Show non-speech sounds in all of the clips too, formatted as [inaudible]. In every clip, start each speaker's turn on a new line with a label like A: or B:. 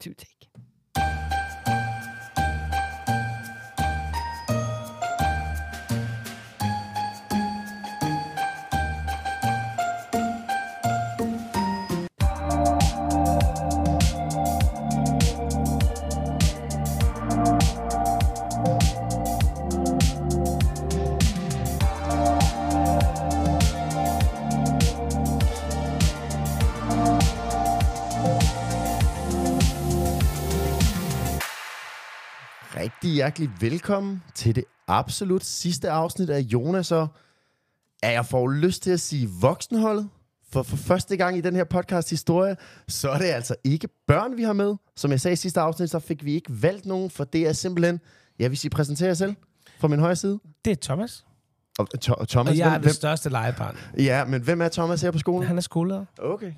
A: to take.
B: Rigtig hjertelig velkommen til det absolut sidste afsnit af Jonas og er jeg får lyst til at sige voksenholdet, for for første gang i den her podcast historie, så er det altså ikke børn, vi har med. Som jeg sagde i sidste afsnit, så fik vi ikke valgt nogen, for det er simpelthen, jeg vil sige, præsentere jer selv fra min højre side.
C: Det er Thomas.
B: Og, Tho- og Thomas,
C: Og jeg er
B: hvem,
C: det største legebarn.
B: hvem, ja, men hvem er Thomas her på skolen?
C: Han er skolelærer.
B: Okay.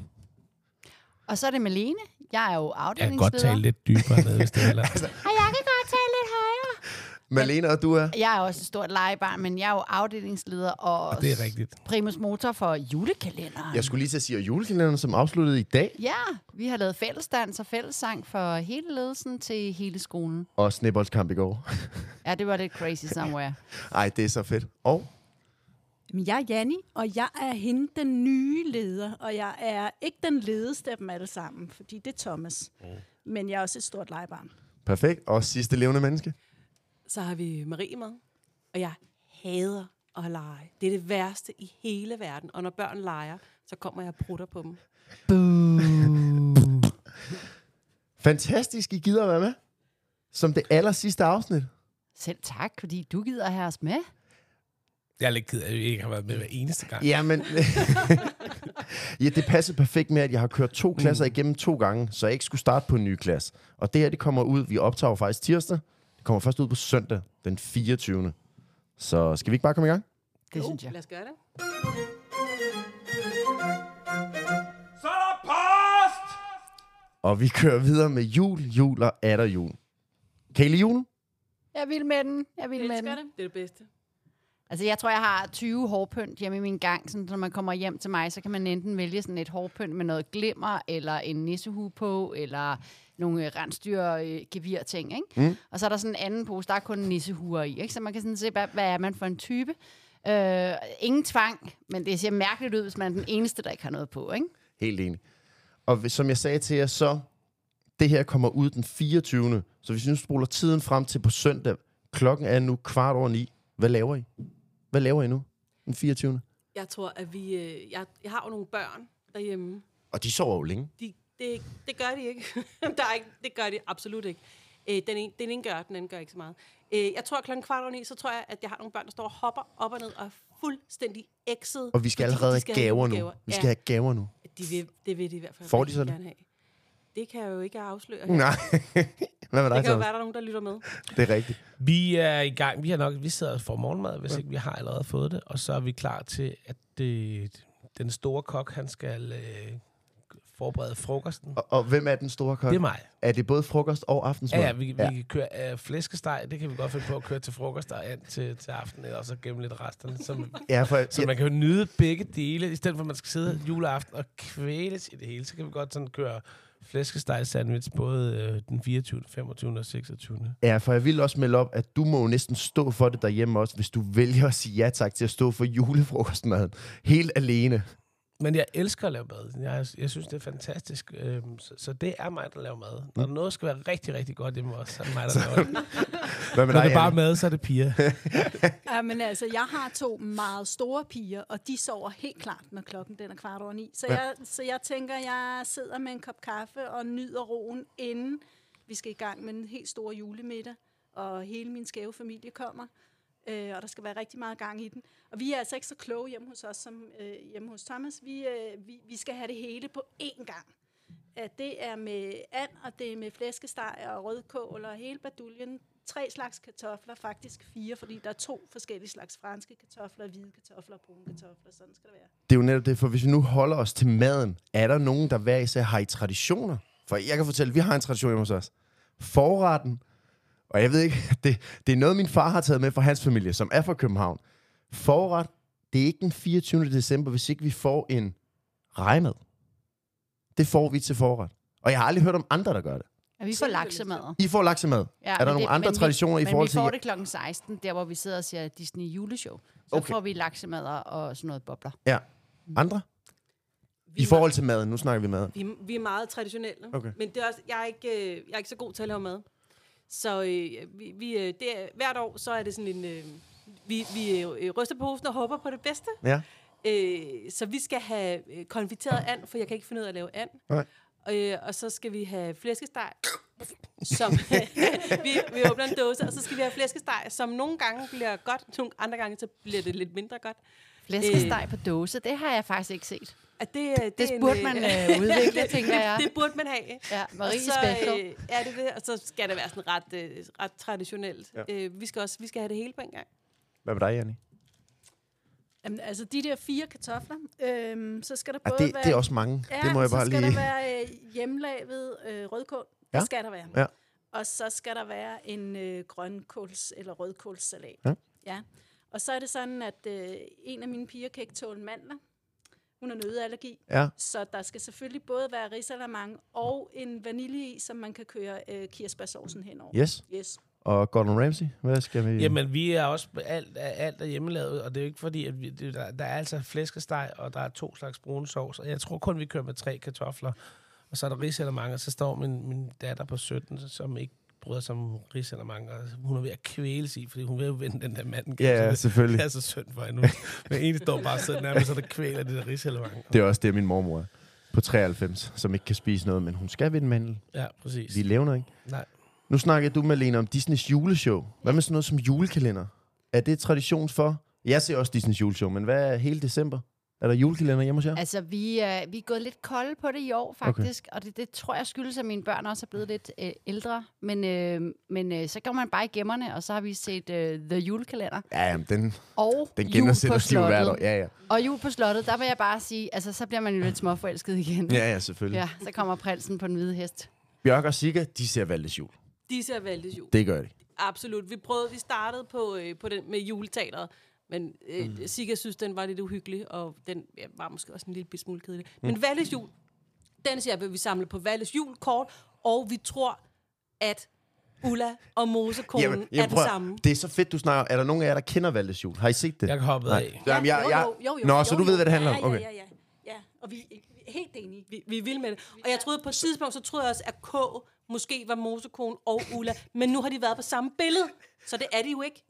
A: Og så er det Malene. Jeg er jo
C: Jeg kan godt
A: afdelingsleder.
C: tale lidt dybere ned,
B: [laughs]
C: hvis det heller.
B: Altså-
A: Og jeg kan godt tale lidt højere.
B: Malene, og du er?
A: Jeg er også et stort legebarn, men jeg er jo afdelingsleder og,
C: Og det er rigtigt.
A: primus motor for julekalenderen.
B: Jeg skulle lige til at sige, at julekalenderen, som afsluttede i dag,
A: Ja, vi har lavet fællesdans og fællessang for hele ledelsen til hele skolen.
B: og sneboldskamp i går. [laughs]
A: Ja, det var lidt crazy somewhere.
B: Ej, det er så fedt. Og
D: Jamen, jeg er Janni, og jeg er hende den nye leder, og jeg er ikke den ledeste af dem alle sammen, fordi det er Thomas. Mm. Men jeg er også et stort legebarn.
B: perfekt. Og sidste levende menneske.
E: så har vi Marie med, og jeg hader at lege. Det er det værste i hele verden, og når børn leger, så kommer jeg og prutter på dem.
B: Fantastisk, I gider at være med. Som det aller sidste afsnit.
A: Selv tak, fordi du gider have os med.
C: Jeg er lidt ked af, at vi ikke har været med hver eneste gang.
B: Jamen, [laughs] ja, det passer perfekt med, at jeg har kørt to klasser igennem to gange, så jeg ikke skulle starte på en ny klasse. Og det her, det kommer ud, vi optager jo faktisk tirsdag. Det kommer først ud på søndag, den 24. Så skal vi ikke bare komme i gang?
A: Det synes jeg.
E: Uh, Lad os gøre det.
F: Så er der post!
B: Og vi kører videre med jul, jul og atter jul. Kan I lide julen?
A: Jeg vil med den. Jeg vil
E: Jeg
A: med
E: elsker
A: den.
E: det. Det er det bedste.
A: Altså, jeg tror, jeg har 20 hårpynt hjemme i min gang. Så når man kommer hjem til mig, så kan man enten vælge sådan et hårpynt med noget glimmer, eller en nissehue på, eller nogle øh, rensdyrgevir ting, ikke? Mm. Og så er der sådan en anden pose, der er kun nissehuer i, ikke? Så man kan sådan se, hvad, hvad er man for en type. Øh, ingen tvang, men det ser mærkeligt ud, hvis man er den eneste, der ikke har noget på, ikke?
B: Helt enig. Og hvis- som jeg sagde til jer, så det her kommer ud den 24. Så hvis I nu spoler tiden frem til på søndag, klokken er nu kvart over ni. Hvad laver I? Hvad laver I nu? Den 24.
E: Jeg tror, at vi... øh, Jeg, jeg har jo nogle børn derhjemme.
B: Og de sover jo længe.
E: De, det, det gør de ikke. [laughs] der er ikke. Det gør de absolut ikke. Øh, den, ene, den ene gør, den anden gør ikke så meget. Øh, jeg tror, at klokken kvart over ni, så tror jeg, at jeg har nogle børn, der står og hopper op og ned og er fuldstændig ekset.
B: Og vi skal
E: fordi
B: allerede have
E: de
B: gaver nu. Vi skal
E: ja,
B: have gaver nu.
E: de vil, det vil de i hvert fald.
B: Får de
E: rigtig
B: så det?
E: gerne have. Det kan jeg jo ikke afsløre. her.
B: Nej. [laughs] Hvad med
E: Det
B: dig,
E: kan jo
B: Thomas?
E: være, der er nogen, der lytter med.
B: Det er rigtigt.
C: Vi er i gang. Vi har nok vi sidder og får morgenmad, hvis ikke vi har allerede fået det. Og så er vi klar til, at øh, den store kok, han skal øh, forberede frokosten.
B: Og, og hvem er den store kok?
C: Det er mig.
B: Er det både frokost og aftensmad?
C: Ja, ja, vi, vi kan køre øh, flæskesteg. Det kan vi godt finde på at køre til frokost og and til, til aften, eller så gemme lidt resterne, som,
B: ja for,
C: Så
B: ja,
C: man kan jo nyde begge dele, i stedet for at man skal sidde juleaften og kvæles i det hele. Så kan vi godt sådan køre flæskesteg sandwich både øh, den 24., 25. og 26.
B: ja, for jeg vil også melde op, at du må jo næsten stå for det derhjemme også, hvis du vælger at sige ja tak til at stå for julefrokostmaden. Helt alene.
C: Men jeg elsker at lave mad. Jeg, jeg synes, det er fantastisk. Øhm, så, så det er mig, der laver mad. Når noget skal være rigtig, rigtig godt hjemme også, så er det mig, der laver det.
B: Hvad med
C: Når
B: dig,
C: det er bare
B: Anne?
C: mad, så er det piger.
D: [laughs] Ja, men altså, jeg har to meget store piger, og de sover helt klart, når klokken den er kvart over ni. Så, jeg, så jeg tænker, jeg sidder med en kop kaffe og nyder roen, inden vi skal i gang med den helt store julemiddag, og hele min skæve familie kommer. Øh, og der skal være rigtig meget gang i den. Og vi er altså ikke så kloge hjemme hos os som øh, hjemme hos Thomas. Vi, øh, vi, vi skal have det hele på én gang. At det er med and, og det er med flæskesteg og rødkål og hele baduljen. Tre slags kartofler, faktisk fire, fordi der er to forskellige slags franske kartofler, hvide kartofler og brune kartofler. Sådan skal det være.
B: Det er jo netop det, for hvis vi nu holder os til maden, er der nogen, der hver især har i traditioner? For jeg kan fortælle, at vi har en tradition hjemme hos os. Forretten, og jeg ved ikke, [laughs] det, det er noget, min far har taget med fra hans familie, som er fra København. Forret, det er ikke den 24. december, hvis ikke vi får en rejmad. Det får vi til forret. Og jeg har aldrig hørt om andre, der gør det.
A: Ja, vi får laksemad.
B: I får laksemad.
A: Ja,
B: er
A: men
B: der nogle
A: det-
B: andre
A: men vi-
B: traditioner i forhold til...
A: Men vi får det klokken 16, der hvor vi sidder og ser Disney juleshow. Så
B: Okay.
A: okay. får vi laksemadder og sådan noget bobler.
B: Ja. Andre?
E: Vi
B: I
E: er
B: forhold til maden. Nu snakker vi mad.
E: Vi, vi er meget traditionelle,
B: Okay.
E: men det er også, jeg, er ikke, øh, jeg er ikke så god til at lave mad. Så øh, vi, vi, øh, det er, hvert år, så er det sådan en... Øh, vi, vi øh, ryster på hosen og håber på det bedste.
B: Ja.
E: Øh, så vi skal have øh, konfiteret and, for jeg kan ikke finde ud af at lave and.
B: Nej.
E: Øh, og så skal vi have flæskesteg, som... [laughs] vi, vi åbner en dåse, og så skal vi have flæskesteg, som nogle gange bliver godt, nogle andre gange så bliver det lidt mindre godt.
A: Flæskesteg på dåse, det har jeg faktisk ikke set.
E: At Øh. det, øh, det,
A: Det
E: er en,
A: burde
E: øh,
A: man øh,
E: [laughs]
A: udvikle, tænker jeg.
E: det burde man have.
A: Ja, Marie
E: Og så,
A: Special.
E: Øh, ja, det er det. Og så skal det være sådan ret, øh, ret traditionelt. Ja. Øh, vi skal også vi skal have det hele på en gang.
B: Hvad med dig, Janni?
D: Jamen, altså de der fire kartofler, øhm, så skal der
B: Ah,
D: både
B: det,
D: være...
B: det er også mange.
D: Ja,
B: det må jeg
D: så
B: bare
D: skal
B: lige...
D: der være øh, hjemlavet øh, rødkål.
B: Ja.
D: Det skal der være.
B: Ja.
D: Og så skal der være en øh, grønkåls- eller rødkålssalat.
B: Ja.
D: ja. Og så er det sådan, at øh, en af mine piger kan ikke tåle mandler. Hun har nødeallergi.
B: Ja.
D: Så der skal selvfølgelig både være risalamang og en vanilje i, som man kan køre øh, kirsebærsovsen henover.
B: Yes.
D: Yes.
B: Og Gordon Ramsay? Hvad skal vi...
C: Jamen, vi er også alt, alt er hjemmelavet, og det er jo ikke fordi, at vi, det, der, der er altså flæskesteg, og der er to slags brune sovs, og jeg tror kun, vi kører med tre kartofler. Og så er der risalamang, og så står min, min datter på 17, som ikke bryder sig om risalamang, og hun er ved at kvæles i, fordi hun vil jo vende den der mand.
B: Ja, ja, selvfølgelig.
C: altså, Det er så synd for hende. Men egentlig står bare sådan nærmest, så der kvæler det der risalamang.
B: Det er også det, min mormor er. På 93, som ikke kan spise noget, men hun skal vinde mandel.
C: Ja, præcis.
B: Vi levner ikke.
C: Nej.
B: Nu snakker du, Malene, om Disneys juleshow. Hvad med sådan noget som julekalender? Er det tradition for? Jeg ser også Disneys juleshow, men hvad er hele december? Er der julekalender hjemme hos jer?
A: Altså, vi, øh, vi er gået lidt kolde på det i år, faktisk. Okay. Og det, det tror jeg skyldes, at mine børn også er blevet lidt øh, ældre. Men, øh, men øh, så går man bare i gemmerne, og så har vi set øh, The Julekalender.
B: Ja, jamen, den,
A: Og
B: den
A: jul
B: [laughs] genudsætter
A: på
B: sig jo hvert
A: slottet.
B: år. Ja, ja.
A: Og jul på slottet, der vil jeg bare sige, altså, så bliver man jo lidt småforelsket igen.
B: Ja, ja, selvfølgelig. Ja.
A: ja, så kommer prinsen på den hvide hest.
B: Bjørk og Sigga, de ser Valdes jul.
E: De ser valgtes jul.
B: Det gør de.
E: Absolut. Vi prøvede, vi startede på, øh, på den med juleteateret, men øh, mm. Sika synes, den var lidt uhyggelig, og den ja, var måske også en lille bit smule kedelig. Mm. Men Valles jul, den ser vi, vi samle på Valles julekort, og vi tror, at Ulla og Mosekonen er den
B: prøv at-
E: samme.
B: Det er så fedt, du snakker. Er der nogen af jer, der kender Valdes jul? Har I set det?
C: Jeg kan hoppe
B: Nej.
C: af.
B: Jamen, jeg,
D: jo,
B: jeg...
D: jo, jo, jo,
B: Nå,
D: jo,
B: så du
D: jo.
B: ved, hvad det handler om.
D: ja,
B: Okay.
D: Ja, ja, ja. ja. Og vi, vi er helt enige.
E: Vi, vi er vilde med det. Og jeg troede på et tidspunkt, så troede jeg også, at K måske var Mosekon og Ulla, men nu har de været på samme billede, så det er de jo ikke.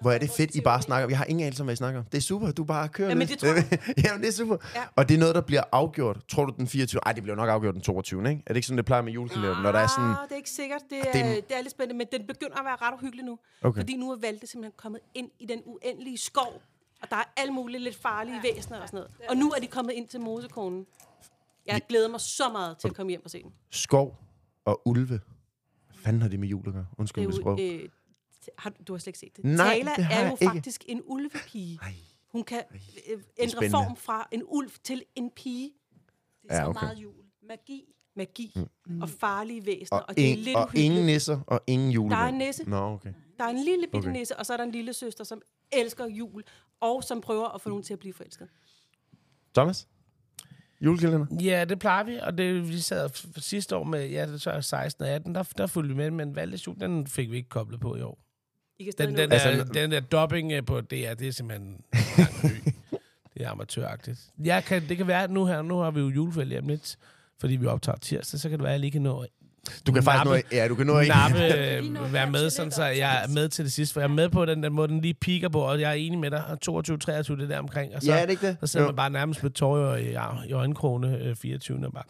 B: Hvor er det fedt, I bare snakker om. Jeg har ingen anelse om, hvad I snakker om. Det er super, du bare kører
E: Jamen,
B: lidt.
E: det
B: [laughs] Jamen, det er super. Ja.
E: Ja.
B: Og det er noget, der bliver afgjort. Tror du den 24? Ej, det bliver nok afgjort den 22, ikke? Er det ikke sådan, det plejer med julekalenderen, når der er sådan...
E: Ah, det er ikke sikkert. Det
B: det er-
E: er, det er lidt spændende, men den begynder at være ret uhyggelig nu.
B: Okay.
E: Fordi nu er Valde simpelthen kommet ind i den uendelige skov, og der er alle mulige lidt farlige væsener og sådan noget. Og nu er de kommet ind til Mosekonen. Jeg glæder mig så meget til at komme hjem og se den.
B: skov og ulve? Hvad fanden har det med jul at gøre?
E: Det
B: Undskyld
E: er
B: mit
E: jo,
B: sprog.
E: øh, t- har, du- du har slet ikke set det.
B: Nej,
E: Tala
B: det har
E: er
B: jeg
E: jo
B: ikke.
E: faktisk en ulvepige.
B: Ej.
E: Hun kan øh, ændre
B: spændende.
E: form fra en ulv til en pige.
D: Det er
B: Ja,
D: ja,
B: okay.
D: så meget jul. Magi.
E: Magi mm. og farlige væsener,
B: Og,
E: og, og det er
B: en,
E: lidt
B: og ingen
E: uhyggeligt.
B: nisser og ingen julemand.
E: Der er en nisse.
B: Nå, okay.
E: Der er en lille bitte
B: Okay.
E: okay. nisse, og så er der en lille søster, som elsker jul, og som prøver at få nogen til at blive forelsket.
B: Thomas? Julekalender?
C: Ja, det plejer vi, og det, vi sad f- sidste år med, ja, det så er 16 og 18, der, der fulgte vi med, men valgdesjul, den fik vi ikke koblet på i år.
E: I kan stadig
C: Den, den,
E: nå det.
C: altså, der,
B: Altså,
C: den der dobbing øh, på DR, det er
B: [laughs]
C: simpelthen langt ny. Det er amatøragtigt. Jeg kan, det kan være, at nu her, nu har vi jo julefælde hjem lidt, fordi vi optager tirsdag, så kan det være, at jeg lige kan nå at
B: Du kan faktisk nå...
C: Nappe.
B: Ja, du kan nå ikke.
C: nappe,
D: Lige nå
C: øh, være
D: her
C: med,
D: til
C: sådan,
D: lidt
C: så jeg er med til det sidste, for jeg er med på den der måde, den lige piker på, og jeg er enig med dig, og 22-23, det der omkring, og
B: [laughs]
C: så,
B: Ja, er det ikke det?
C: så sidder
B: Jo.
C: man bare nærmest med tårer i, i øjenkrone øh, 24. og bare...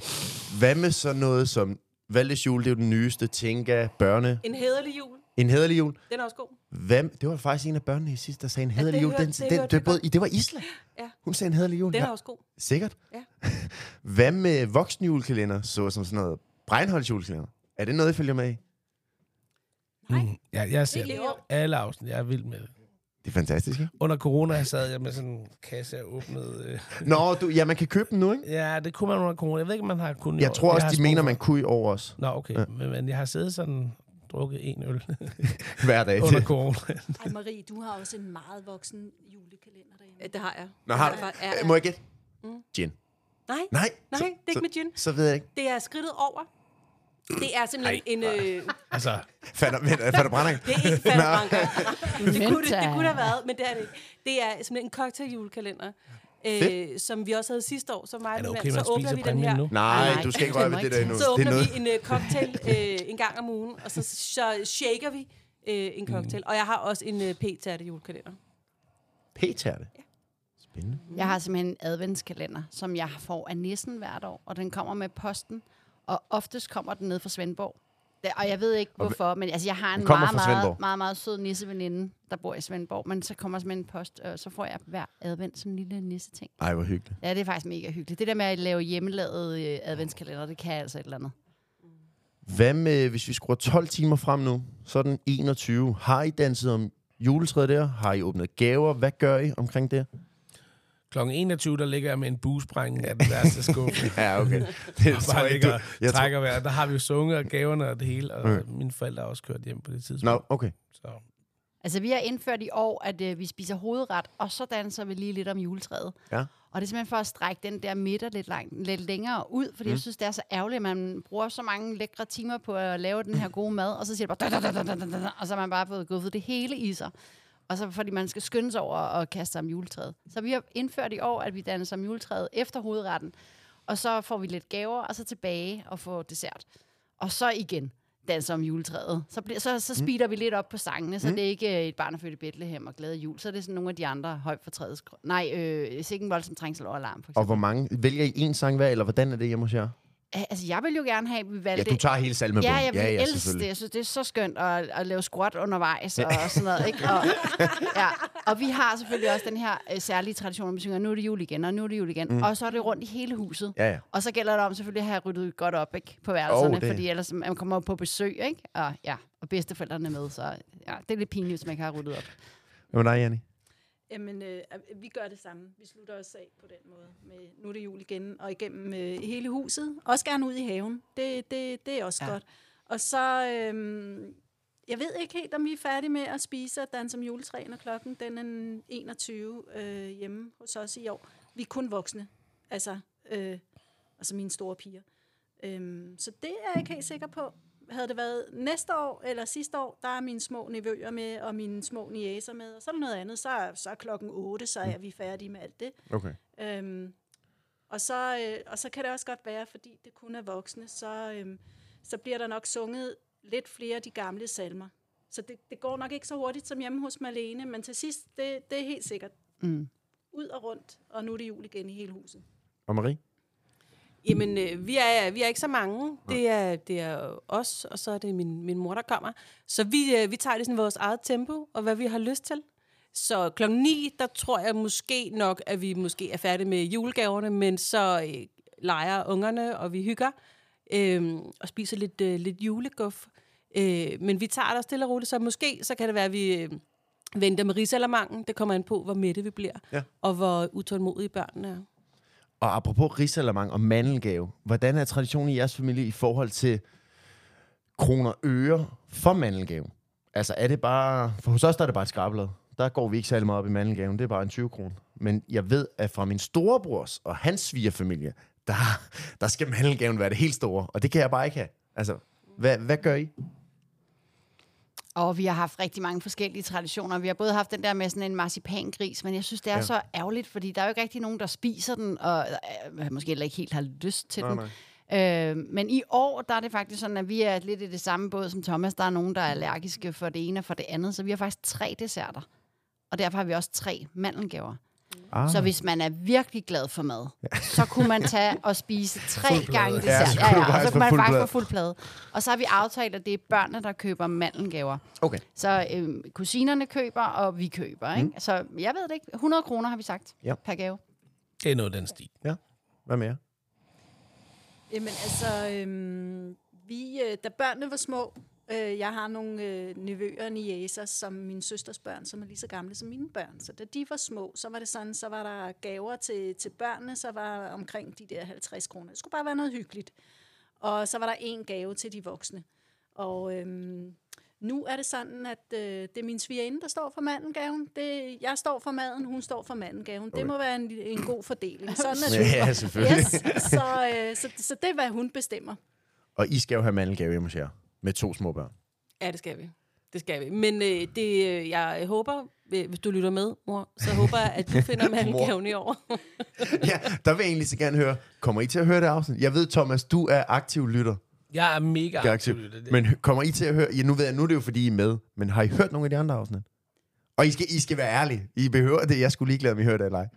B: Hvad med sådan noget som... Valdes jul, det er jo den nyeste. Tænker, børne.
E: En hederlig jul,
B: En hederlig jul.
E: den er også god.
B: Hvem? Det var faktisk en af børnene i sidste, der sagde en hederlig
E: det
B: jul.
E: hørte-
B: Den,
E: det
B: den,
E: hørte
B: det,
E: vi
B: var både, det var Isla.
E: Ja.
B: Hun sagde en hederlig jul.
E: Den
B: Ja.
E: er også god.
B: Sikkert.
E: Ja.
B: [laughs] Hvad med voksne julekalender, så som sådan noget Breinholds julekalender? Er det noget, I følger med i?
C: Mm. Jeg, jeg ser
D: Ikke i år.
C: alle afsnit, jeg er vild med det.
B: Det er fantastisk, [laughs] ikke?
C: Under corona sad jeg med sådan en kasse, jeg åbnede. øh.
B: Nå, du, ja, man kan købe den nu, ikke?
C: Ja, det kunne man under corona. Jeg ved ikke, om man har kunnet. i
B: Jeg
C: år.
B: tror også,
C: har
B: de
C: sprunget
B: mener,
C: for-
B: man kunne i år også.
C: Nå, okay. Ja. Men, men jeg har siddet sådan drukket en øl
B: [laughs]
C: [laughs]
B: Hver dag.
C: under
E: [laughs]
C: corona.
D: Ej, Marie, du har også en meget voksen julekalender derhjemme.
E: Ja, Det har jeg.
B: Nå, har du?
E: Ja, ja.
B: Øh, Må jeg gætte? Gin.
E: Nej,
B: Nej.
E: nej, det er ikke med gin.
B: Så ved jeg ikke.
E: Det er skridtet over. Det er simpelthen Ej. en... Øh,
C: Altså,
B: Fatter, [laughs] fatter Brandag.
E: Det er ikke Fanny Branca. det, kunne det,
A: Menta.
E: det kunne det have været, men det er det ikke. Det er simpelthen en cocktailjulekalender, øh, som vi også havde sidste år. Så, mig
C: er
E: og
C: det
E: min
C: okay,
E: mand,
C: man
E: så åbner
C: spiser
E: vi den
C: præmien
E: her.
C: nu?
B: Nej,
A: Nej,
B: du skal ikke
A: det
B: røre
A: må
B: ved det
A: ikke
B: der
A: tænke.
B: endnu.
E: Så
B: Det er
E: åbner
B: noget.
E: vi en øh,
B: [laughs]
E: cocktail øh, en gang om ugen, og så, så shaker vi øh, en cocktail. Og jeg har også en øh, p-tærte julekalender.
B: P-tærte. Spændende.
A: Jeg har simpelthen en adventskalender, som jeg får af nissen hvert år, og den kommer med posten, og oftest kommer den ned fra Svendborg. Det- Og jeg ved ikke hvorfor, men altså, jeg har en
B: Den kommer
A: meget,
B: fra
A: meget,
B: Svendborg.
A: meget, meget sød nisseveninde, der bor i Svendborg, men så kommer simpelthen en post, og så får jeg hver advent sådan en lille nisseting.
B: Ej, hvor hyggeligt.
A: Ja, det er faktisk mega hyggeligt. Det der med at lave hjemmelavede øh, adventskalender, det kan jeg altså et eller andet.
B: Hvad med, hvis vi skruer 12 timer frem nu, så er den 21. Har I danset om juletræet der? Har I åbnet gaver? Hvad gør I omkring
C: [laughs]
B: det?
C: Klokken 21, der ligger jeg med en buesprængning af den værste
B: [laughs]
C: skuffe.
B: Ja, okay. Det
C: Og
B: tror
C: bare
B: jeg
C: ligger
B: ikke,
C: og
B: jeg tror,
C: trækker vejret. Der har vi jo sunget og gaverne og det hele, og mine forældre er også kørt hjem på det tidspunkt.
B: Nå, okay.
C: Så.
A: Altså, vi har indført i år, at øh, vi spiser hovedret, og så danser vi lige lidt om juletræet.
B: Ja.
A: Og det er simpelthen for at strække den der midter lidt, langt, lidt længere ud, fordi mm. jeg synes, det er så ærgerligt, at man bruger så mange lækre timer på at lave den her gode mad, og så siger det bare, da, da, da, da, da, da, da, og så har man bare fået guffet det hele i sig. Og så fordi man skal skynde sig over og kaste sig om juletræet. Så vi har indført i år, at vi danser om juletræet efter hovedretten, og så får vi lidt gaver, og så tilbage og får dessert. Og så igen danser om juletræet. Så, bliver, så, så speeder mm. vi lidt op på sangene, så mm. det er ikke øh, et barn er født i Bethlehem og glæde jul, så er det sådan nogle af de andre højt for træets grøn. Nej, øh, sikke en voldsom trængsel over alarm, for
B: Og
A: eksempel.
B: hvor mange? Vælger I en sang hver, eller hvordan er det hjemme hos jer?
A: Og, altså, jeg vil jo gerne have, at vi
B: Ja,
A: valgte...
B: du tager hele salmebogen.
A: Ja, jeg vil
B: ja, ja,
A: elske det.
B: selvfølgelig.
A: Jeg synes, det er så skønt at, at lave squat undervejs og sådan noget. Ikke?
B: [laughs]
A: Og, ja. og vi har selvfølgelig også den her øh, særlige tradition, hvor vi synger, nu er det jul igen, og nu er det jul igen. Mm. Og så er det rundt i hele huset.
B: Ja, ja.
A: Og så gælder det om selvfølgelig at have ryddet godt op ikke, på værelserne,
B: Åh,
A: oh,
B: det-
A: fordi ellers man kommer jo på besøg, ikke? Og, ja, og bedsteforældrene er med, så ja, det er lidt pinligt, hvis man ikke har ryddet op.
B: Hvad med dig, Janni?
D: Jamen, øh, vi gør det samme. Vi slutter os af på den måde. Med, nu er det jul igen, og igennem øh, hele huset. Også gerne ud i haven. Det, det, det er også ja. godt. Og så, øhm, jeg ved ikke helt, om vi er færdige med at spise og danse om juletræ, når klokken den er den 21 øh, hjemme hos os i år. Vi er kun voksne. Altså, øh, altså mine store piger. Øhm, så det er jeg ikke helt sikker på. Havde det været næste år eller sidste år, der er mine små nevøer med, og mine små niæser med, og så er der noget andet. Så er, så er klokken 8, så er vi færdige med alt det.
B: Okay.
D: Øhm, og, så, øh, og så kan det også godt være, fordi det kun er voksne, så, øhm, så bliver der nok sunget lidt flere af de gamle salmer. Så det, det går nok ikke så hurtigt som hjemme hos Marlene, men til sidst, det, det er helt sikkert.
A: Mm.
D: Ud og rundt, og nu er det jul igen i hele huset.
B: Og Marie?
E: Jamen, øh, vi, er, vi er ikke så mange. Det er, det er os, og så er det min, min mor, der kommer. Så vi, øh, vi tager det sådan vores eget tempo, og hvad vi har lyst til. Så klokken 9, der tror jeg måske nok, at vi måske er færdige med julegaverne, men så øh, leger ungerne, og vi hygger, øh, og spiser lidt, øh, lidt juleguff. Øh, men vi tager det stille og roligt, så måske så kan det være, at vi øh, venter med risalamangen. Det kommer an på, hvor mætte vi bliver,
B: Ja.
E: og hvor utålmodige børnene er.
B: Og apropos risalamang og mandelgave, hvordan er traditionen i jeres familie i forhold til kroner og øre for mandelgave? Altså er det bare, for hos os der er det bare et skrabelag. Der går vi ikke særlig meget op i mandelgaven, det er bare en 20 kroner. Men jeg ved, at fra min storebrors og hans svigerfamilie, der, der skal mandelgaven være det helt store, og det kan jeg bare ikke have. Altså, hvad, hvad gør I?
A: Og vi har haft rigtig mange forskellige traditioner. Vi har både haft den der med sådan en marcipangris, men jeg synes, det er
B: Ja.
A: ja. så ærgerligt, fordi der er jo ikke rigtig nogen, der spiser den, og øh, måske heller ikke helt har lyst til
B: Nej,
A: den. Øh, men i år, der er det faktisk sådan, at vi er lidt i det samme båd som Thomas. Der er nogen, der er allergiske for det ene og for det andet, så vi har faktisk tre desserter. Og derfor har vi også tre mandelgaver.
B: Ah.
A: Så hvis man er virkelig glad for mad, så kunne man tage og
B: [laughs]
A: spise tre gange
B: Ja,
A: dessert.
B: så kunne du
A: og så kunne
B: faktisk få
A: man
B: fuld
A: faktisk
B: plade.
A: få fuld plade. Og så har vi aftalt, at det er børnene, der køber mandelgaver.
B: Okay.
A: Så øhm, kusinerne køber, og vi køber. Ikke? Så jeg ved det ikke. 100 kroner har vi sagt
B: Mm. Ja.
A: per gave.
C: Det er noget af den stil.
B: Hvad med jer?
D: Jamen altså, øhm, vi, øh, da børnene var små, øh, jeg har nogle øh, nevøer og niæser, som mine søsters børn, som er lige så gamle som mine børn. Så da de var små, så var det sådan, så var der gaver til, til børnene, så var der omkring de der 50 kroner. Det skulle bare være noget hyggeligt. Og så var der en gave til de voksne. Og øhm, nu er det sådan, at øh, det er min svigerinde, der står for mandengaven. Det, jeg står for maden, hun står for mandengaven. Det må være en, en god fordeling. Sådan er det.
B: Ja, selvfølgelig.
D: Yes, så, øh, så, så det er, hvad hun bestemmer.
B: Og I skal jo have mandelgave hjemme hos jer, med to små børn.
E: Ja, det skal vi. Det skal vi. Men øh, det, øh, jeg håber, øh, hvis du lytter med, mor, så håber jeg, at du
B: [laughs]
E: finder mandelgaven i år.
B: ja, der vil jeg egentlig så gerne høre, kommer I til at høre det afsnit? Jeg ved, Thomas, du er aktiv lytter.
C: Jeg er mega
B: Jeg er
C: aktiv.
B: aktiv.
C: i det.
B: Men hø- kommer I til at høre... Ja, nu ved jeg, nu er det jo, fordi I er med. Men har I hørt nogle af de andre afsnit? Og I skal, I skal være ærlige. I behøver det. Jeg skulle ligeglade, om I hørte det eller ej.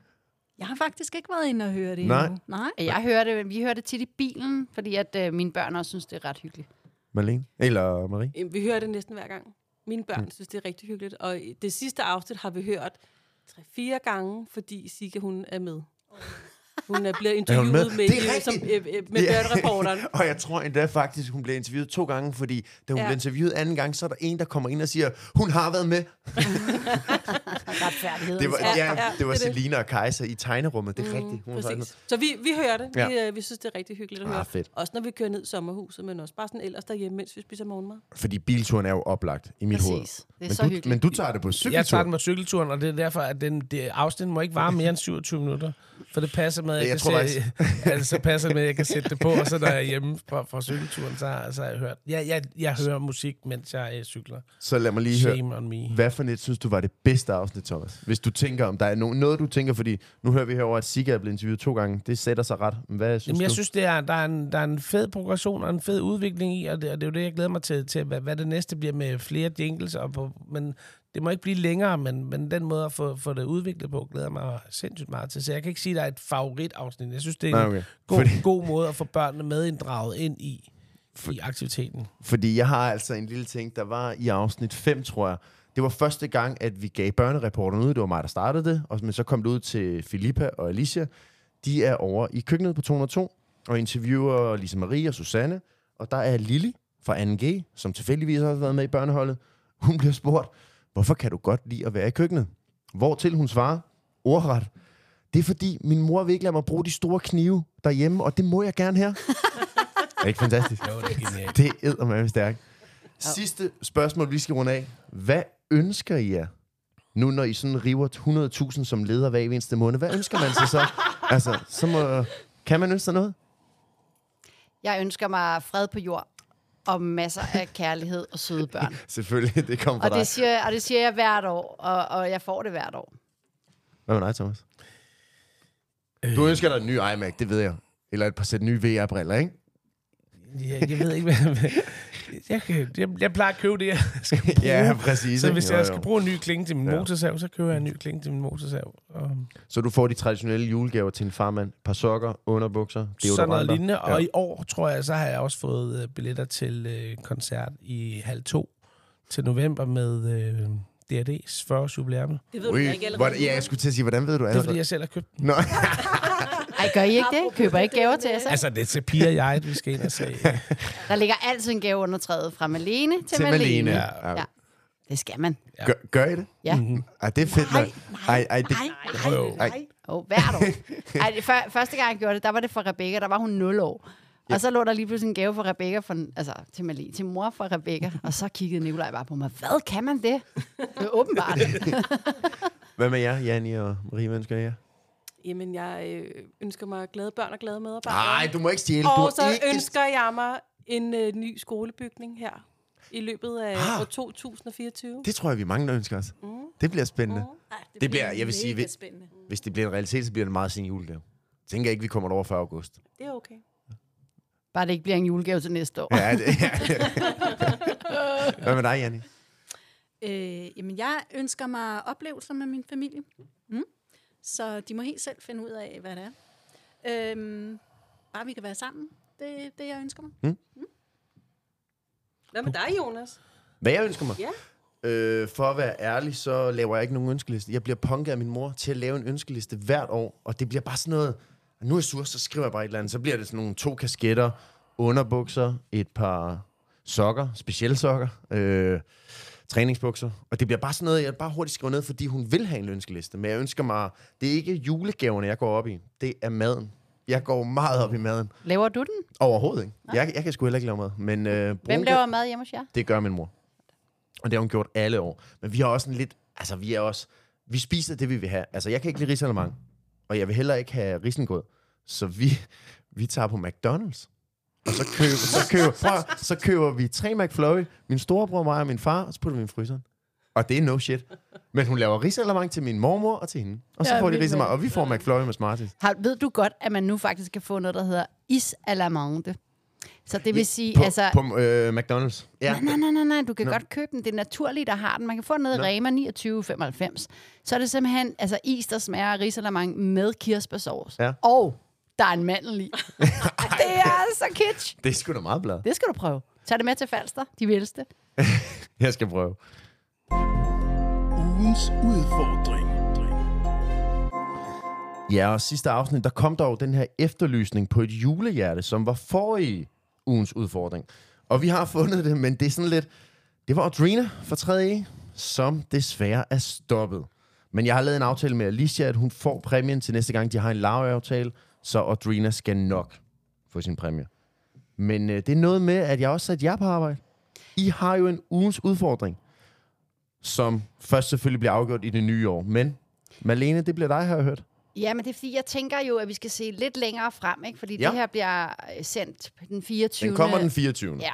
D: Jeg har faktisk ikke været inde og høre det
B: Nej.
D: endnu. Nej.
A: Jeg hører det, vi hører det tit i bilen, fordi at øh, mine børn også synes, det er ret hyggeligt.
B: Marlene? Eller Marie?
E: Jamen, Vi hører det næsten hver gang. Mine børn
B: Mm.
E: synes, det er rigtig hyggeligt. Og i det sidste afsnit har vi hørt 3-4 gange, fordi Sika, hun er med. Hun er blevet
B: Er
E: interviewet
B: hun
E: med,
B: med? Det er
E: øh, som,
B: rigtigt.
E: øh, øh, med
B: Ja. [laughs]
E: dørreporteren.
B: og jeg tror endda faktisk, hun blev interviewet to gange, fordi da hun ja.
E: Ja.
B: blev interviewet anden gang, så er der en, der kommer ind og siger, hun har været med.
A: Retfærdighed.
B: Det var, ja,
E: Ja,
B: ja,
E: ja,
B: det var
E: det er det.
B: Selina og Kajsa i tegnerummet. Det er mm, rigtigt. Hun har sagt
E: Præcis. Så vi, vi hører det.
B: Ja.
E: Ja. Vi, øh, vi synes, det er rigtig hyggeligt at
B: Ah,
E: høre.
B: fedt.
E: Også når vi kører ned i sommerhuset, men også bare sådan ellers derhjemme, mens vi spiser morgenmad.
B: noget. Fordi bilturen er jo oplagt i mit
A: Præcis.
B: hoved.
A: Det er
B: men,
A: så
B: du,
A: hyggeligt.
B: men du tager det på
C: Jeg
B: cykeltur.
C: tager den
B: Jeg,
C: på cykelturen, og det er derfor, at den, det, afsnit må ikke vare mere end 27 minutter. For det passer med, at jeg,
B: Jeg
C: jeg,
B: tror
C: kan, se, [laughs] altså, det passer med, at jeg kan sætte det på, og så når jeg er hjemme fra, fra cykelturen, så, har- så har jeg hørt. Jeg, jeg, jeg hører musik, mens jeg øh, cykler.
B: så lad mig lige høre.
C: Shame on me.
B: Hvad for net synes du var det bedste afsnit, Thomas? Hvis du tænker, om der er no- noget, du tænker, fordi nu hører vi herover at Sika er blevet interviewet to gange. Det sætter sig ret. Men Hvad synes
C: Jamen, jeg
B: du?
C: synes, det er, der, er en, der er en fed progression og en fed udvikling i, og det, og det er jo det, jeg glæder mig til, til hvad, hvad det næste bliver med flere jingles. Og på, men det må ikke blive længere, men, men den måde at få, få det udviklet på, glæder jeg mig sindssygt meget til. Så jeg kan ikke sige, at der er et favoritafsnit. Jeg synes, det er en
B: Nej, okay.
C: god,
B: Fordi-
C: Fordi... god måde at få børnene medinddraget ind i, i aktiviteten.
B: Fordi jeg har altså en lille ting, der var i afsnit 5, tror jeg. Det var første gang, at vi gav børnereporterne ud. Det var mig, der startede det. Og, men så kom det ud til Filippa og Alicia. De er over i køkkenet på 202 og interviewer Lise Marie og Susanne. Og der er Lili fra 2G, som tilfældigvis også har været med i børneholdet. Hun bliver spurgt, hvorfor kan du godt lide at være i køkkenet? Hvortil hun svarer, ordret, det er fordi, min mor vil ikke lade mig bruge de store knive derhjemme, og det må jeg gerne her. er det ikke fantastisk?
C: Jo, det er genialt.
B: Det æder mig stærkt. Sidste spørgsmål, vi skal runde af. Hvad ønsker I jer? Nu, når I sådan river 100.000 som leder hver evig eneste måned, hvad ønsker man sig
A: [laughs]
B: så? altså, så må, kan man ønske sig noget?
A: Jeg ønsker mig fred på jord og masser
B: [laughs]
A: af kærlighed og søde børn.
B: Selvfølgelig, det kommer
A: Og det siger, og det siger jeg hvert år, og, og jeg får det hvert år.
B: Hvad med dig, Thomas?
C: Øh.
B: Du ønsker dig en ny iMac, det ved jeg. Eller et par sæt nye VR-briller,
C: [laughs]
B: ikke?
C: Jeg, jeg ved ikke, hvad... Jeg, kan- jeg, jeg plejer at købe det, jeg skal bruge.
B: [laughs] Ja, præcis.
C: Så
B: ikke?
C: hvis
B: Jo, jo.
C: jeg skal bruge en ny klinge til min
B: Ja.
C: motorsav, så køber jeg en ny klinge til min motorsav. Og
B: Så du får de traditionelle julegaver til en farmand. Par sokker, underbukser, deodoranter.
C: sådan noget lignende. Og
B: Ja.
C: i år, tror jeg, så har jeg også fået øh, billetter til øh, koncert i halv to til november med øh, DRD's 40-års jubilæum. Det
E: Det ved
B: Ui,
E: du da ikke allerede.
B: hvor, ja, jeg skulle til at sige, hvordan ved du
C: er,
B: allerede?
C: fordi jeg selv har købt den.
B: Nå,
A: Ej, gør I ikke det? Køber I ikke gaver til jer selv?
C: Altså, det er til piger og jeg, vi skal ind
B: [laughs]
C: og se.
A: Der ligger altid en gave under træet fra Malene til,
B: til Malene.
A: Malene.
B: Ja.
A: Ja. Det skal man.
B: Gør, gør I det? Mhm.
A: Ja.
B: Ej, det er fedt nok. Ej, ej, det,
D: nej,
C: Jo.
D: nej.
B: Ej.
A: Oh, hvert år. Ej, det før, første gang, jeg gjorde det, der var det for Rebecca. Der var hun 0 år. Og så lå der lige pludselig en gave for Rebecca, for, altså til, Malene, til mor fra Rebecca. Og så kiggede Nikolaj bare på mig. Hvad kan man det? Det er åbenbart.
B: Hvad med jer, Janni og Marie, hvad ønsker jer?
E: Jamen, jeg øh, ønsker mig glade børn og glade medarbejdere.
B: Nej, du må ikke stjæle. du må
E: Og så
B: ikke...
E: ønsker jeg mig en øh, ny skolebygning her i løbet af år 2024.
B: Ah. Det tror jeg, vi er mange, der ønsker os. Mm. Det bliver spændende. Mm.
D: Ej,
B: Det bliver- jeg vil sige,
D: mega
B: vi-
D: spændende. Det
B: Hvis det bliver en realitet, så bliver det en meget sin julegave. Tænker jeg ikke, vi kommer derover før august.
E: Det er okay.
A: Bare det ikke bliver en julegave til næste år.
B: Ja, det, ja. Hvad med dig, Janni?
D: Øh, jamen, jeg ønsker mig oplevelser med min familie. Mm. Så de må helt selv finde ud af, hvad det er. Øhm, bare vi kan være sammen. Det er det, jeg ønsker mig.
E: Hvad med dig, Jonas?
B: Hvad jeg ønsker mig?
E: Ja.
B: Øh, for at være ærlig, så laver jeg ikke nogen ønskeliste. Jeg bliver punket af min mor til at lave en ønskeliste hvert år, og det bliver bare sådan noget, nu er jeg sur, så skriver jeg bare et eller andet. Så bliver det sådan nogle to kasketter, underbukser, et par sokker, specielle sokker, øh, træningsbukser. Og det bliver bare sådan noget, jeg bare hurtigt skriver ned, fordi hun vil have en ønskeliste. Men jeg ønsker mig, det er ikke julegaverne, jeg går op i. Det er maden. Jeg går meget op i maden.
A: Laver du den?
B: Overhovedet ikke. Jeg, jeg kan sgu heller ikke lave mad. Men, øh,
A: Hvem
B: brun-
A: laver mad hjemme hos jer?
B: det gør min mor. Og det har hun gjort alle år. Men vi har også en lidt... Altså, vi er også... Vi spiser det, vi vil have. Altså, jeg kan ikke lide risalemang. Og jeg vil heller ikke have risengrød. Så vi, vi tager på McDonald's. Og så køber, så køber, prøv, så køber vi tre McFlurry, min storebror, mig og min far, og så putter vi dem i fryseren. Og det er no shit. Men hun laver risalamang til min mormor og til hende. Og så
A: Ja,
B: får de
A: vildt
B: risalamang,
A: nok.
B: og vi får McFlurry med Smarties.
A: Har, ved du godt, at man nu faktisk kan få noget, der hedder is à la mande? Så det vil sige,
B: På,
A: altså...
B: på øh, McDonald's. Ja.
A: Nej, nej, nej, nej, nej, du kan Nå. godt købe den. Det er naturligt, der har den. Man kan få den nede i
B: Nå.
A: Rema 29,95. Så er det simpelthen altså, is, der smager af risalamang med kirsebærsovs.
B: Ja.
A: Og der er en mandel [laughs] i. det er altså kitsch.
B: Det er sgu da meget blad.
A: Det skal du prøve. Tag det med til Falster, de vildeste.
B: [laughs] Jeg skal prøve.
G: Ugens udfordring.
B: Ja, og sidste afsnit, der kom der jo den her efterlysning på et julehjerte, som var forrige ugens udfordring. Og vi har fundet det, men det er sådan lidt... Det var Audrina fra 3. som desværre er stoppet. Men jeg har lavet en aftale med Alicia, at hun får præmien til næste gang, de har en laveaftale, så Audrina skal nok få sin præmie. Men øh, det er noget med, at jeg også satte jer på arbejde. I har jo en ugens udfordring, som først selvfølgelig bliver afgjort i det nye år. Men Malene, det bliver dig, har jeg hørt.
A: Ja, men det er fordi, jeg tænker jo, at vi skal se lidt længere frem, ikke? Fordi ja.
B: Ja.
A: det her bliver øh, sendt den 24.
B: Den kommer den 24.
A: Ja.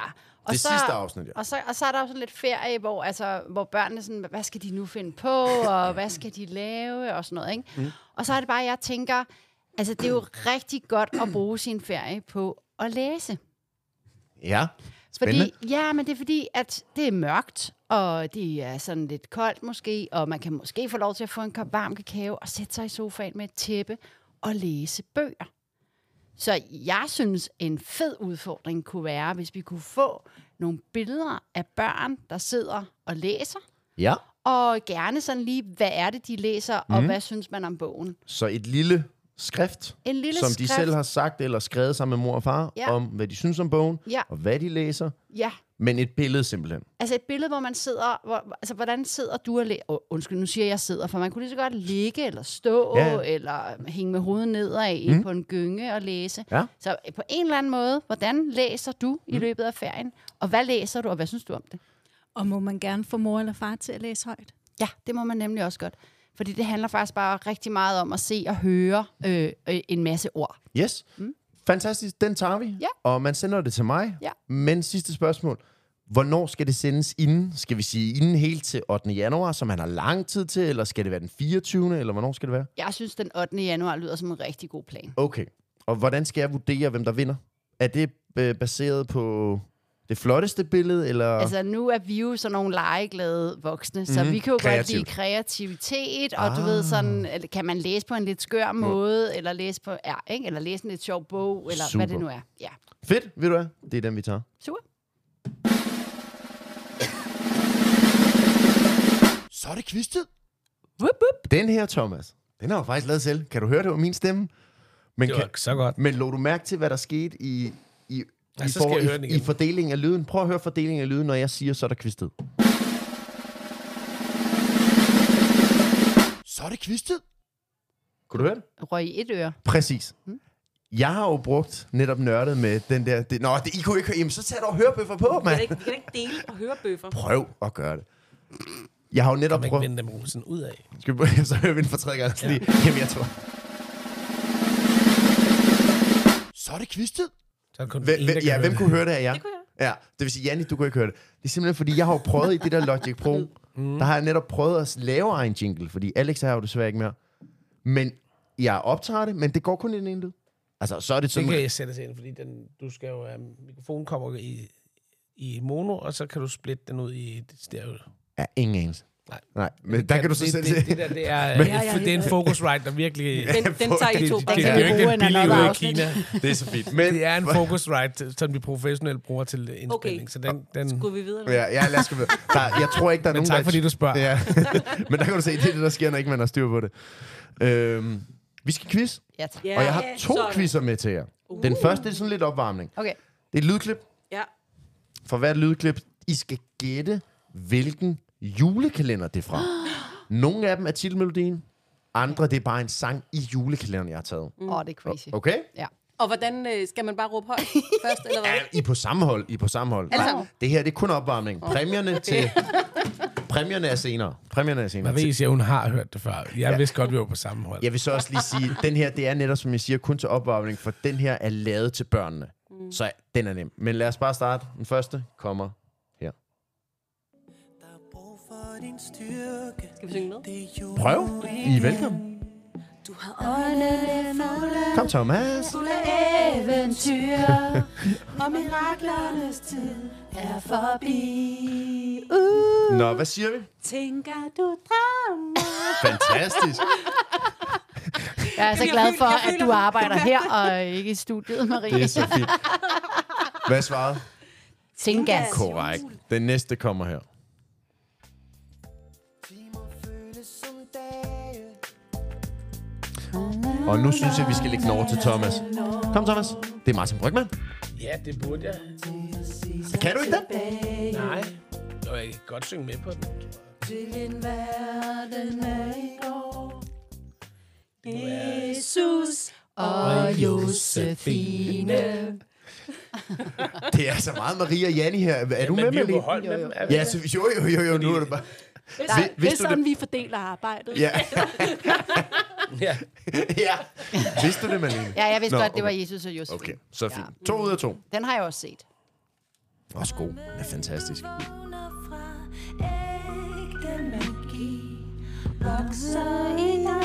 B: Det sidste afsnit, ja.
A: Og så, og så er der jo sådan lidt ferie, hvor, altså, hvor børnene sådan, hvad skal de nu finde på, og hvad skal de lave, og sådan noget, ikke? Mm. Og så er det bare, jeg tænker, altså det er jo rigtig godt at bruge sin ferie på at læse.
B: Ja. Spændende.
A: Fordi, ja, men det er fordi, at det er mørkt, og det er sådan lidt koldt måske, og man kan måske få lov til at få en kop varm kakao og sætte sig i sofaen med et tæppe og læse bøger. Så jeg synes, en fed udfordring kunne være, hvis vi kunne få nogle billeder af børn, der sidder og læser,
B: Ja.
A: og gerne sådan lige, hvad er det, de læser, og
B: Mm.
A: hvad synes man om bogen?
B: Så et lille skrift,
A: En lille
B: som de
A: skrift.
B: selv har sagt eller skrevet sammen med mor og far,
A: Ja.
B: ja. om hvad de synes om bogen,
A: Ja.
B: og hvad de læser.
A: Ja,
B: Men et billede simpelthen.
A: Altså et billede, hvor man sidder... Hvor, altså, hvordan sidder du og læser... Oh, undskyld, nu siger jeg, jeg sidder, for man kunne lige så godt ligge eller stå,
B: Ja,
A: ja.
B: ja. Mhm.
A: eller hænge med hovedet nedad mm. på en gynge og læse.
B: Ja.
A: Så øh, på en eller anden måde, hvordan læser du
B: Mhm.
A: i løbet af ferien? Og hvad læser du, og hvad synes du om det?
D: Og må man gerne få mor eller far til at læse højt?
A: Ja, det må man nemlig også godt. Fordi det handler faktisk bare rigtig meget om at se og høre øh, øh, en masse ord.
B: Yes. Mm. Fantastisk. Den tager vi.
A: Ja.
B: Og man sender det til mig.
A: Ja.
B: Men sidste spørgsmål. Hvornår skal det sendes inden? Skal vi sige inden helt til 8. januar, som han har lang tid til, eller skal det være den 24. eller hvornår skal det være?
A: Jeg synes, den 8. januar lyder som en rigtig god plan.
B: Okay. Og hvordan skal jeg vurdere, hvem der vinder? Er det øh, baseret på det flotteste billede, eller...
A: Altså, nu er vi jo sådan nogle legeglade voksne, så
B: Mhm.
A: vi kan jo godt lide
B: Kreativt.
A: kreativitet, og ah. du ved sådan, eller kan man læse på en lidt skør måde, eller læse på, ja, ikke? eller læse en lidt sjov bog, eller Super. hvad det
B: Super.
A: nu er. Ja,
B: Fedt, ved du hvad? Det er den, vi tager.
A: super.
B: Så er det kvistet.
A: Wup, wup.
B: Den her, Thomas, den har jeg jo faktisk lavet selv. Kan du høre det var min stemme? Men,
C: Det
B: kan,
C: var så godt.
B: men lå du mærke til, hvad der skete i, i,
C: Ja,
B: i,
C: så skal jeg høre den
B: i, i
C: igen.
B: fordelingen af lyden? Prøv at høre fordelingen af lyden, når jeg siger, så er der kvistet. Så er det kvistet. Kunne du høre det?
A: Røg i et øre.
B: Præcis.
E: Hmm?
B: Jeg har jo brugt netop nørdet med den der... Det, nå, det, I kunne ikke høre... Jamen, så tag dog hørebøffer på,
E: Vi kan da
B: mand.
E: ikke, vi kan da ikke dele og høre bøffer.
B: Prøv at gøre det. Jeg har jo netop
C: Kan man ikke
B: prøvet...
C: vende dem Olsen ud af?
B: Skal vi, [laughs] så hører vi den for tredje gang. Ja. Lige. Jamen, jeg tror... Så er det kvistet.
C: Så er der kun
B: Hvem,
C: en,
B: hvem,
C: der kan
B: ja,
C: høre
B: hvem
C: det.
B: kunne høre det af jer?
E: Det kunne
B: jeg. Ja, det vil sige, Janni, du kunne ikke høre det. Det er simpelthen, fordi jeg har jo prøvet i det der Logic Pro,
C: Mm.
B: der har jeg netop prøvet at lave egen jingle, fordi Alex er jo desværre ikke mere. Men jeg optager det, men det går kun i den ene lyd. Altså, så er det
C: Det
B: sådan...
C: kan jeg sætte ind, fordi den, du skal jo... Um, mikrofonen kommer i, i mono, og så kan du splitte den ud i et stereo.
B: Ja, ingen anelse.
C: Nej.
B: Nej, men der kan du så
C: det,
B: selv
C: det,
B: se.
C: det, det, der, det er, øh,
B: Men-
C: det, er, det er en Focusrite, der virkelig...
E: Den, den tager I
C: det,
E: to.
C: det,
A: Den
C: det
A: kan
C: er
A: vi
C: jo ikke
A: bruge
C: den
A: i en
C: billige
A: anden
C: ud af
A: afsnit.
C: Kina.
B: Det er så fint. Men,
C: Det er en Focusrite, som de professionelle bruger til indspilning. Okay. Så den, den,
E: Skulle vi videre?
B: Ja, ja lad os gå videre. Der, jeg tror ikke, der er
C: men
B: nogen,
C: tak
B: der...
C: fordi du spørger.
B: Ja. [laughs] Men der kan du se, det er det, der sker, når ikke man har styr på det. Øhm, vi skal quiz,
A: Ja, tak.
E: Ja, Uh.
B: og jeg har to
E: sådan.
B: quizzer med til jer. Den første det er sådan lidt opvarmning.
A: Okay.
B: Det er et lydklip.
E: Ja.
B: For hvert lydklip, I skal gætte, hvilken julekalender det er [gasps] fra. Nogle af dem er titelmelodien, andre det er bare en sang i julekalenderen, jeg har taget.
E: Mm.
A: Åh, oh, det er crazy.
B: Okay?
A: Ja.
E: Og hvordan øh, skal man bare råbe
B: [laughs]
E: højt først, eller hvad?
B: Ja, I er på samme hold, I er på samme hold.
E: Altså-
B: Det her, det er kun opvarmning. [laughs] Præmierne til... Præmierne er senere. Præmierne er senere.
C: Jeg ved, at hun har hørt det før. Jeg vidste godt, vi var på samme hold.
B: Jeg vil så også lige sige, den her, det er netop, som jeg siger, kun til opvarmning, for den her er lavet til børnene. Mm. Så den er nem. Men lad os bare starte. Den første kommer her.
G: Der er brug for din styrke.
E: Skal vi synge med?
G: Det er jul
B: Prøv. I er velkommen.
G: Du har øjnene fulde
B: Kom, Thomas.
G: af eventyr.
B: [laughs]
G: og miraklernes tid er forbi. Uh.
B: Nå, hvad siger vi?
D: Tænker du drømmer?
B: Fantastisk.
A: Jeg er så
E: Jeg
A: glad
E: føler-
A: for,
E: jeg
A: at
E: føler-
A: du
E: [laughs]
A: arbejder her og ikke i studiet,
B: Det
A: Marie.
B: er så
G: [laughs]
B: fint. Hvad svarede?
A: Tingas.
B: Korrekt. Den næste kommer her.
G: Timer føles som dage.
B: Og nu synes jeg, vi skal lægge den over til Thomas. Kom, Thomas. Det er Martin Brygman.
C: Ja, det burde jeg.
B: Kan du ikke den?
C: Nej. Nå, jeg kan godt synge med på den.
D: Jesus.
A: Og Josefine.
B: Det er altså meget Maria og Janni her. Er du
C: Men
B: med,
C: vi er jo
B: Malene?
C: på hold med dem. er vi
B: Ja,
C: ikke?
B: så, jo, jo, jo, jo, nu er det bare...
D: Nej,
B: hvis
D: det er
B: du
D: sådan,
B: det-
D: vi fordeler arbejdet.
B: Ja, [laughs]
C: ja.
B: ja. Vidste du det, Malene?
A: Ja, jeg vidste
B: Nå,
A: godt, det var
B: okay.
A: Jesus og Josefine.
B: Okay, så fint. To ud af to.
A: Den har jeg også set.
B: Også god. Det er fantastisk.
G: Vågner fra ægte magi. Vokser i dig.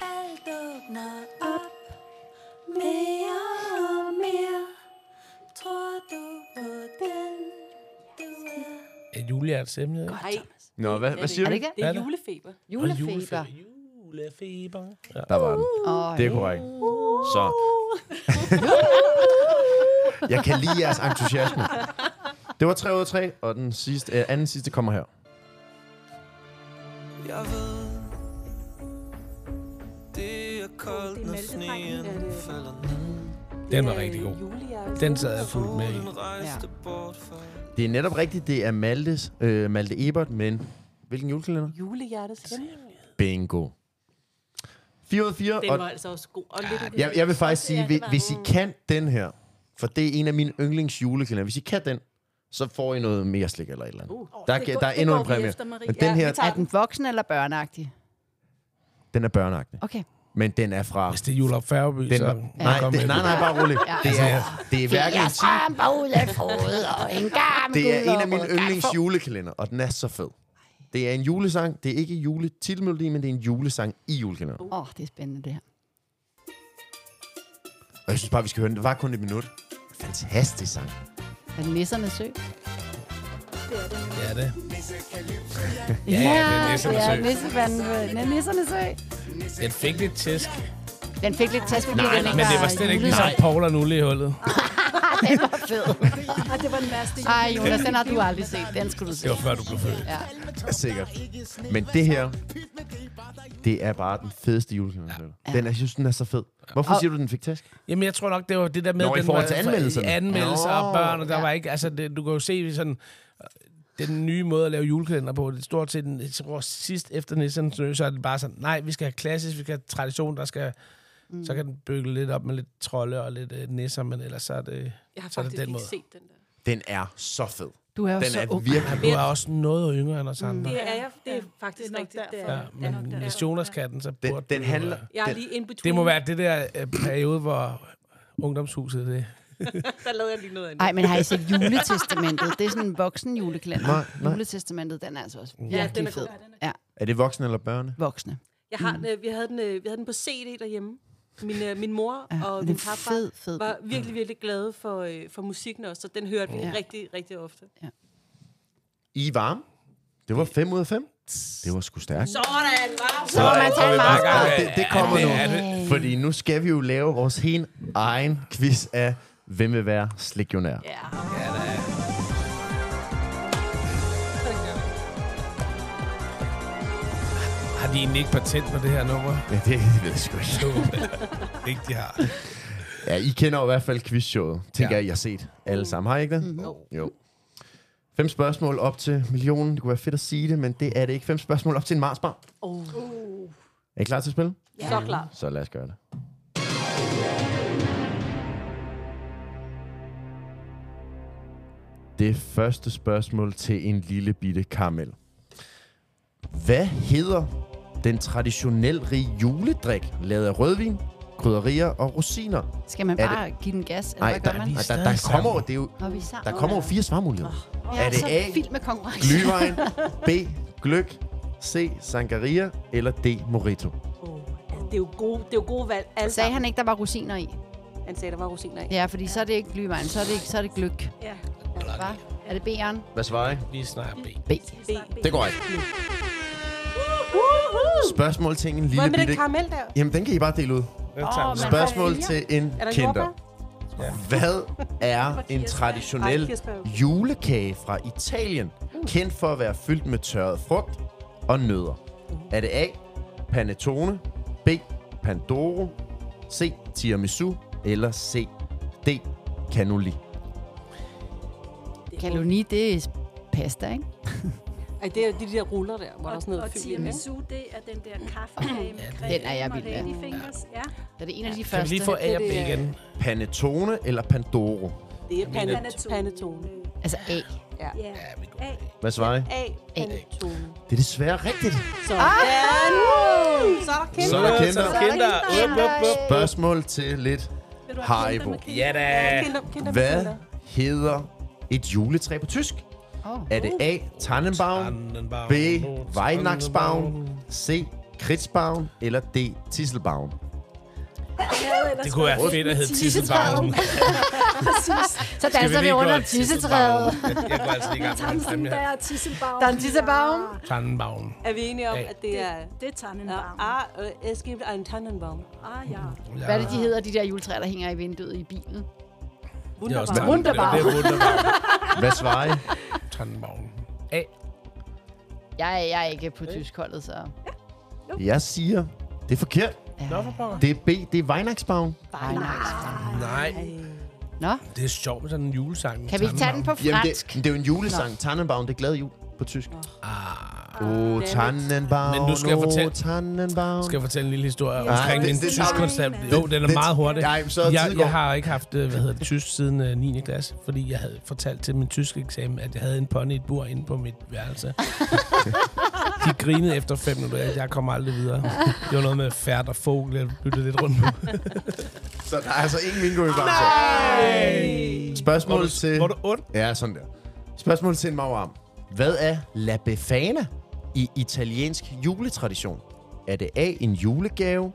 G: Alt åbner op. Mere og mere. Tror du på den, du er?
C: Er Julia et emne?
E: Nej,
B: Nå, hvad, hvad siger
A: Er
B: du?
A: det ikke det?
E: det
C: Hvad er
E: er
C: det?
E: julefeber.
A: Julefeber.
C: Julefeber. Ja.
B: Der var den.
A: Åh,
B: Det er korrekt. Så. [laughs] Jeg kan lide jeres entusiasme. Det var 3 ud af 3, og den sidste, øh, anden sidste kommer her.
G: Jeg ved, det er koldt,
D: det er
G: når
D: Maltedrengen.
G: sneen
D: Ja,
E: det er-
G: falder ned.
C: Den var rigtig
E: Øh,
C: god.
E: Julia.
C: Den sad jeg fuldt med i.
G: Solen rejste bort fra
B: Det er netop rigtigt, det er Maltes, øh, Malte Ebert, men hvilken julekalender?
E: Julehjertets hemmelighed.
B: Bingo. 4 ud af 4,
E: Den
B: og
E: var altså også god. Og lidt
B: jeg, jeg vil faktisk sige, hvis, hvis I kan den her, for det er en af mine yndlings julekalender, hvis I kan den, så får I noget mere slik eller et eller andet. Uh, der,
D: det
B: er-
D: går-
B: der er
D: det
B: endnu
D: går
B: en
D: vi
B: præmie.
D: efter, Marie.
B: Men den her,
A: Er den voksen eller børneagtig?
B: den er børneagtig.
A: Okay.
B: Men den er fra...
C: Hvis det er Julop Færgeby,
B: Den,
C: så...
B: nej,
C: kom
B: det,
C: med
B: nej, nej, bare rolig. Det er, det er hverken en ti-
A: strømper ud af fod og
B: [laughs]
A: en garm
B: Det er en af mine yndlings julekalender, og den er så fed. Det er en julesang. Det er ikke juletitelmelodi, men det er en julesang i julekalenderen.
A: Åh, det er spændende det her.
B: Og jeg synes bare, vi skal høre den. Det var kun et minut. Fantastisk sang.
A: Er det Nissernes Sø?
C: Ja, det.
A: Ja,
C: det er Nissernes
A: det er
C: Sø.
A: Nissevand- Nej, Nissernes Sø.
C: Den fik lidt tæsk.
A: Den fik lidt tæsk, fordi
C: Nej,
A: den ikke
C: men det var slet ikke ligesom
A: julesang.
C: Paul og Nulle i hullet.
A: Den var
C: [laughs]
A: fed.
D: Og det var den værste
A: Ej, Jonas, den har du aldrig set. Den skulle du se.
C: Det var før, du blev født.
A: Ja.
B: Sikkert. Men det her, det er bare den fedeste julekalender. Ja. Den, er- jeg synes, den er så fed. Hvorfor
A: Og-
B: siger du, den fik tæsk?
C: Jamen, jeg tror nok, det var det der med...
B: Nå, i
C: den
B: forhold
C: var-
B: til anmeldelserne.
C: i Anmeldelser
B: Nå.
C: og børn, og der
A: Ja.
C: var ikke... Altså, det, du kan jo se sådan... øh, Den nye måde at lave julekalender på, det er stort set, den- jeg tror, sidst efter Nissan Snø, så er det bare sådan, nej, vi skal have klassisk, vi skal have tradition, der skal... Mm. Så kan den bygge lidt op med lidt trolde og lidt øh, nisser, men ellers så er det,
E: Jeg har
C: så er det
E: faktisk
C: den
E: ikke
C: måde.
E: set den der.
B: Den er så fed.
A: Du er jo
B: Den
A: så
B: er
A: ung.
B: virkelig...
C: Du er også noget yngre end os andre.
E: Det er jeg. Det er faktisk
D: nok
E: rigtigt. Det
D: derfor.
E: er,
C: Ja, men hvis Jonas kan den, så burde
B: Den,
C: du
B: den
C: jo
B: handler...
C: være-
E: jeg er
B: Den,
E: lige in between.
C: Det må være det der øh, periode, hvor ungdomshuset det.
E: Der lavede jeg lige noget andet.
A: Ej, men har I set juletestamentet? Det er sådan en voksen julekalender.
B: Nej, nej.
A: Juletestamentet, den er altså også virkelig
E: Ja, den er
A: fed.
E: god.
A: Ja,
B: er det voksne eller børne?
A: voksne.
E: Jeg har den, øh, vi, havde den, øh, vi havde den på CD derhjemme. Min, øh, min mor
A: Ja,
E: og
A: den
E: min
A: er
E: papfar
A: fed, fed.
E: var virkelig, virkelig glade for, øh, for musikken også, så den hørte vi
A: Ja.
E: rigtig, rigtig ofte.
B: I er varme. Det var 5 ud af 5. Det var sgu stærkt.
E: Sådan, var
A: Så må man tage en meget
B: Ja, det, det kommer
C: det
B: nu.
C: er
B: Fordi nu skal vi jo lave vores helt egen quiz af, hvem vil være slikionær.
E: Ja.
C: Har de egentlig ikke patent på det her nummer?
B: Ja, det, det ved jeg sgu ikke.
C: Jo, [laughs] ikke de har.
B: Ja, I kender jo i hvert fald quizshowet. Tænker ja.
C: Ja.
B: jeg, I har set alle sammen. Har I ikke det? Mm-hmm. Jo. Fem spørgsmål op til millionen. Det kunne være fedt at sige det, men det er det ikke. Fem spørgsmål op til en marsbar. Oh. Er I klar til at spille?
E: Så klar.
B: Så lad os gøre det. Det første spørgsmål til en lille bitte karamel. Hvad hedder den traditionelt rige juledrik, lavet af rødvin, krydderier og rosiner.
A: Skal man
B: Er
A: bare give den gas, eller
B: Nej,
A: hvad gør
B: der,
A: man?
B: nej, der, der
C: stadig
B: kommer
C: sammen.
B: jo, det er jo,
A: Og vi er sammen,
B: der kommer jo
A: eller?
B: fire svarmuligheder.
A: Jeg
B: er det
A: så
B: A,
A: vild med konkurrence.
B: Glyvejen, B, Gløk, C, Sangaria eller D, Morito?
E: Oh, altså, det, er jo gode, det er jo gode valg. Alle
A: Sagde
E: han?
A: han ikke, der var rosiner i?
E: han sagde, der var rosiner i.
A: Ja, fordi så er det ikke glyvejen, så er det, ikke, så er det gløk.
D: Ja,
A: Hva? Er det B'eren?
B: Hvad svarer I?
C: Vi snakker B.
A: B.
E: B.
B: Det går ikke. Spørgsmål til en
E: Hvad
B: lille
E: med den
B: bitte...
E: karamel der?
B: Jamen, den kan I bare dele ud.
C: Den tager vi.
A: men-
B: Spørgsmål
A: fire?
B: til en
E: Er der
B: kinder.
E: jordbær?
B: Hvad
E: [laughs]
B: er en
E: Ej,
B: traditionel
E: kirsebær er okay.
B: julekage fra Italien,
E: Mm.
B: kendt for at være fyldt med tørret frugt og nødder?
E: Mm-hmm.
B: Er det A, panettone, B, pandoro, C, tiramisu eller C, D, cannoli?
A: Kaloni, det er pasta, ikke?
E: Ej, det er jo de der ruller der, hvor der er sådan
D: og, og
E: noget fyld i dem, ikke?
D: tiramisu, det er den der kaffekage med creme
A: Den er jeg vild med.
D: og fingers. Ja.
A: Så det er en af de
C: Kan vi
A: første.
C: lige få A og B
E: det er-
C: igen?
B: Panettone eller pandoro?
E: Det er panet-
D: Panettone.
E: panettone.
A: Altså A.
E: Ja.
D: Ja,
C: vi
D: A.
B: Hvad svarer I?
E: A. Panettone.
B: Det er desværre rigtigt.
E: Sådan. Så er der kæmpe.
B: Så er der
C: Så
B: kinder.
C: er der kinder. Up, up, up.
B: Spørgsmål til lidt Haribo.
C: Ja da.
E: Kinder, kinder,
B: Hvad
E: kinder.
B: hedder et juletræ på tysk?
A: Oh.
B: Er det A, Tannenbaum,
C: Tannenbaum.
B: B. Weihnachtsbaum, C. Kritzbaum eller D. Tisselbaum.
C: Det kunne være fedt at hedde Tissebaum.
A: Tissebaum. Så danser vi Altså, under tissetræet.
C: Jeg går altså lige i gang med den fremme her.
D: Der er Tisselbaum.
A: Der er en tissebaum.
C: Tannenbaum.
E: Er vi enige om,
C: A.
E: at det er...
D: Det er Tannenbaum.
E: Ah, øh, es gibt einen Tannenbaum.
D: Ah, ja.
C: Ja.
A: Hvad er det, de hedder, de der juletræer, der hænger i vinduet i bilen?
C: Det er også
E: Wunderbar.
A: Wunderbar.
C: Det er Wunderbar.
B: Hvad svarer I?
C: Tannenbaum. A.
A: Jeg, er- jeg er ikke på tysk holdet, så...
B: Jeg siger, det er forkert.
C: Nå, for pokker.
B: Det er B. Det er Weihnachtsbaum.
A: Ej, nej.
C: Nej,
A: Nå,
C: det er sjovt med sådan en julesang. med
A: kan vi ikke tage den på
C: Tannenbaum.
A: fransk?
B: det, det er jo en julesang. Tannenbaum, det er glad jul på tysk. Åh, oh,
E: it.
B: Tannenbaum,
C: Men nu skal jeg
B: oh,
C: fortælle-
B: Tannenbaum.
C: Skal jeg fortælle en lille historie
B: Ja,
C: omkring
B: det-
C: en
B: det-
C: tysk
B: nej.
C: konstant? Jo, den er
B: Det-
C: meget hurtig.
B: Nej, så er
C: jeg,
B: tiden
C: jeg
B: gået.
C: har ikke haft øh, hvad hedder det, tysk siden øh, 9. klasse, fordi jeg havde fortalt til min tyske eksamen, at jeg havde en pony i et bur inde på mit værelse. De grinede efter fem minutter. Jeg kom aldrig videre. Det var noget med fært og fogel. Jeg byttede lidt rundt.
B: Så der er altså ingen bingo i Bamse. Spørgsmål til...
C: Var du ond?
B: Ja, sådan der. Spørgsmål til en magarm. Hvad er la befana i italiensk juletradition? Er det A, en julegave,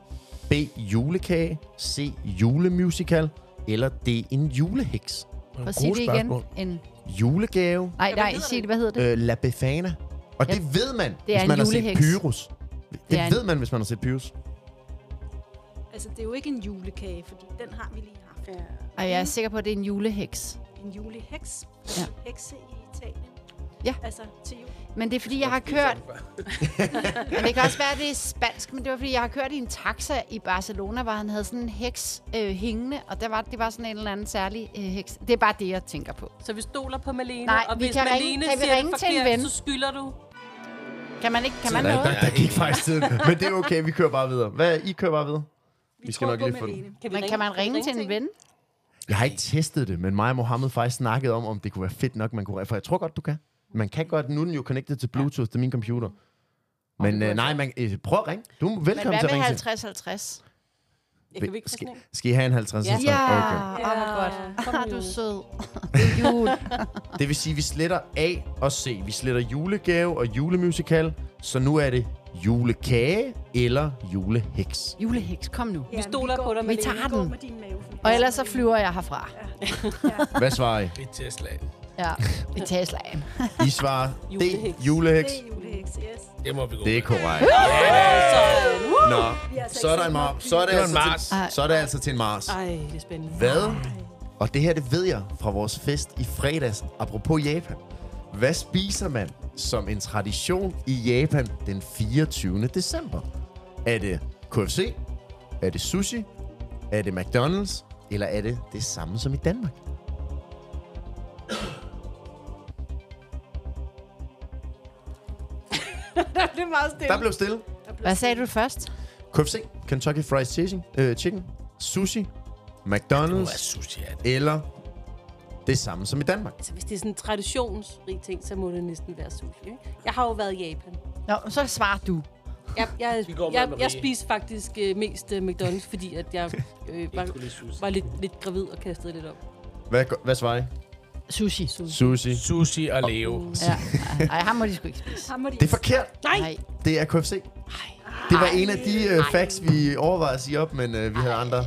B: B, julekage, C, julemusical, eller D, en juleheks?
C: Nogle
A: Prøv at
C: gode
A: sige det igen.
C: spørgsmål.
A: En...
B: Julegave,
A: Nej, nej, sig det. Hvad hedder det?
B: øh, la befana. Og det ved man,
A: er
B: hvis
A: en
B: man har set
A: juleheks.
B: Pyrus. Det,
A: er en-
B: ved man, hvis man har set Pyrus.
D: Altså, det er jo ikke en julekage, fordi den har vi lige haft.
A: Og jeg er sikker på, at det er en juleheks.
D: En juleheks.
A: Ja.
D: Ja. Hekse i Italien.
A: Ja.
D: Altså, til jul.
A: Men det er, fordi jeg har kørt... [laughs] men det kan også være, at det er spansk, men det var, fordi jeg har kørt i en taxa i Barcelona, hvor han havde sådan en heks øh, hængende, og der var, det var sådan en eller anden særlig øh, heks. Det er bare det, jeg tænker på.
E: Så vi stoler på Malene,
A: Nej,
E: og
A: vi
E: hvis
A: kan ringe-
E: Malene
A: kan vi
E: siger
A: ringe
E: det
A: til en
E: forkert,
A: ven?
E: så skylder du.
A: Kan man ikke? Kan man
B: Der,
A: noget?
B: der, der gik faktisk tiden. Men det er okay, vi kører bare videre. Hvad, I kører bare videre. Vi skal
D: tror
B: nok
D: på
B: lige få den.
D: Malene.
E: Kan, vi
A: Men kan man ringe til en ven?
B: Jeg har ikke testet det, men mig og Mohammed faktisk snakkede om, om det kunne være fedt nok, man kunne... For jeg tror godt, du kan. Man kan godt, nu er den jo connected til Bluetooth, til min computer. Men øh, nej, man, øh, prøv at ringe. Du er
A: Men
B: velkommen
A: hvad
B: til at
A: med
B: ringe
A: 50-50?
E: Jeg kan vi ikke få
B: skal,
E: sådan en?
B: skal I have en 50
E: Ja.
A: Ja, åh,
B: Okay.
A: hvor godt.
E: Kom nu.
A: Ah, du er sød. Det er jul.
B: Det vil sige, at vi sletter A og C. Vi sletter julegave og julemusical, så nu er det julekage eller juleheks.
A: Juleheks, kom nu.
D: Ja,
E: stoler på dig,
D: Vi
E: Malene.
D: tager
A: Vi går med
D: den. Med din mave.
A: Og ellers så flyver jeg herfra.
B: Hvad svarer I?
C: Det er Tesla.
A: Ja, i Teslaen.
B: I svarer D,
E: Juleheks.
B: juleheks.
D: Det er juleheks, yes.
C: Det må vi gå
B: Det er
C: med.
B: korrekt.
E: Så, øh,
B: Nå, så er der en Mars. Så er det,
C: Det var en
B: altså
C: Mars.
B: til, så er det altså til en Mars.
E: ej, det er spændende.
B: Hvad? Og det her, det ved jeg fra vores fest i fredags, apropos Japan. Hvad spiser man som en tradition i Japan den 24. december? Er det KFC? Er det sushi? Er det McDonald's? Eller er det det samme som i Danmark?
E: [laughs] Det er meget stille.
B: Der blev stille.
A: Hvad sagde du først?
B: KFC, Kentucky Fried Chicken, øh, chicken sushi,
C: Nu er
B: McDonald's
C: sushi at
B: eller det samme som i Danmark.
E: Altså, hvis det er sådan en traditionsrig ting, så må det næsten være sushi, ikke? Jeg har jo været i Japan.
A: Nå, så svarer du.
E: Jeg, jeg,
C: Vi går med
E: jeg,
C: Marie.
E: jeg spiste faktisk øh, mest øh, McDonald's, fordi at jeg
C: [laughs]
E: øh, var,
C: skulle lide sushi.
E: var lidt, lidt gravid og kastede lidt op.
B: Hvad, gør- hvad svarer I?
A: Sushi.
B: Sushi.
C: Sushi og Leo.
A: Ja. Ej, ham må de sgu ikke spise.
D: Ham må de
B: Det er forkert.
A: Nej.
B: Det er KFC. Det var en af de øh, facts, vi overvejede at sige op, men øh, vi havde andre.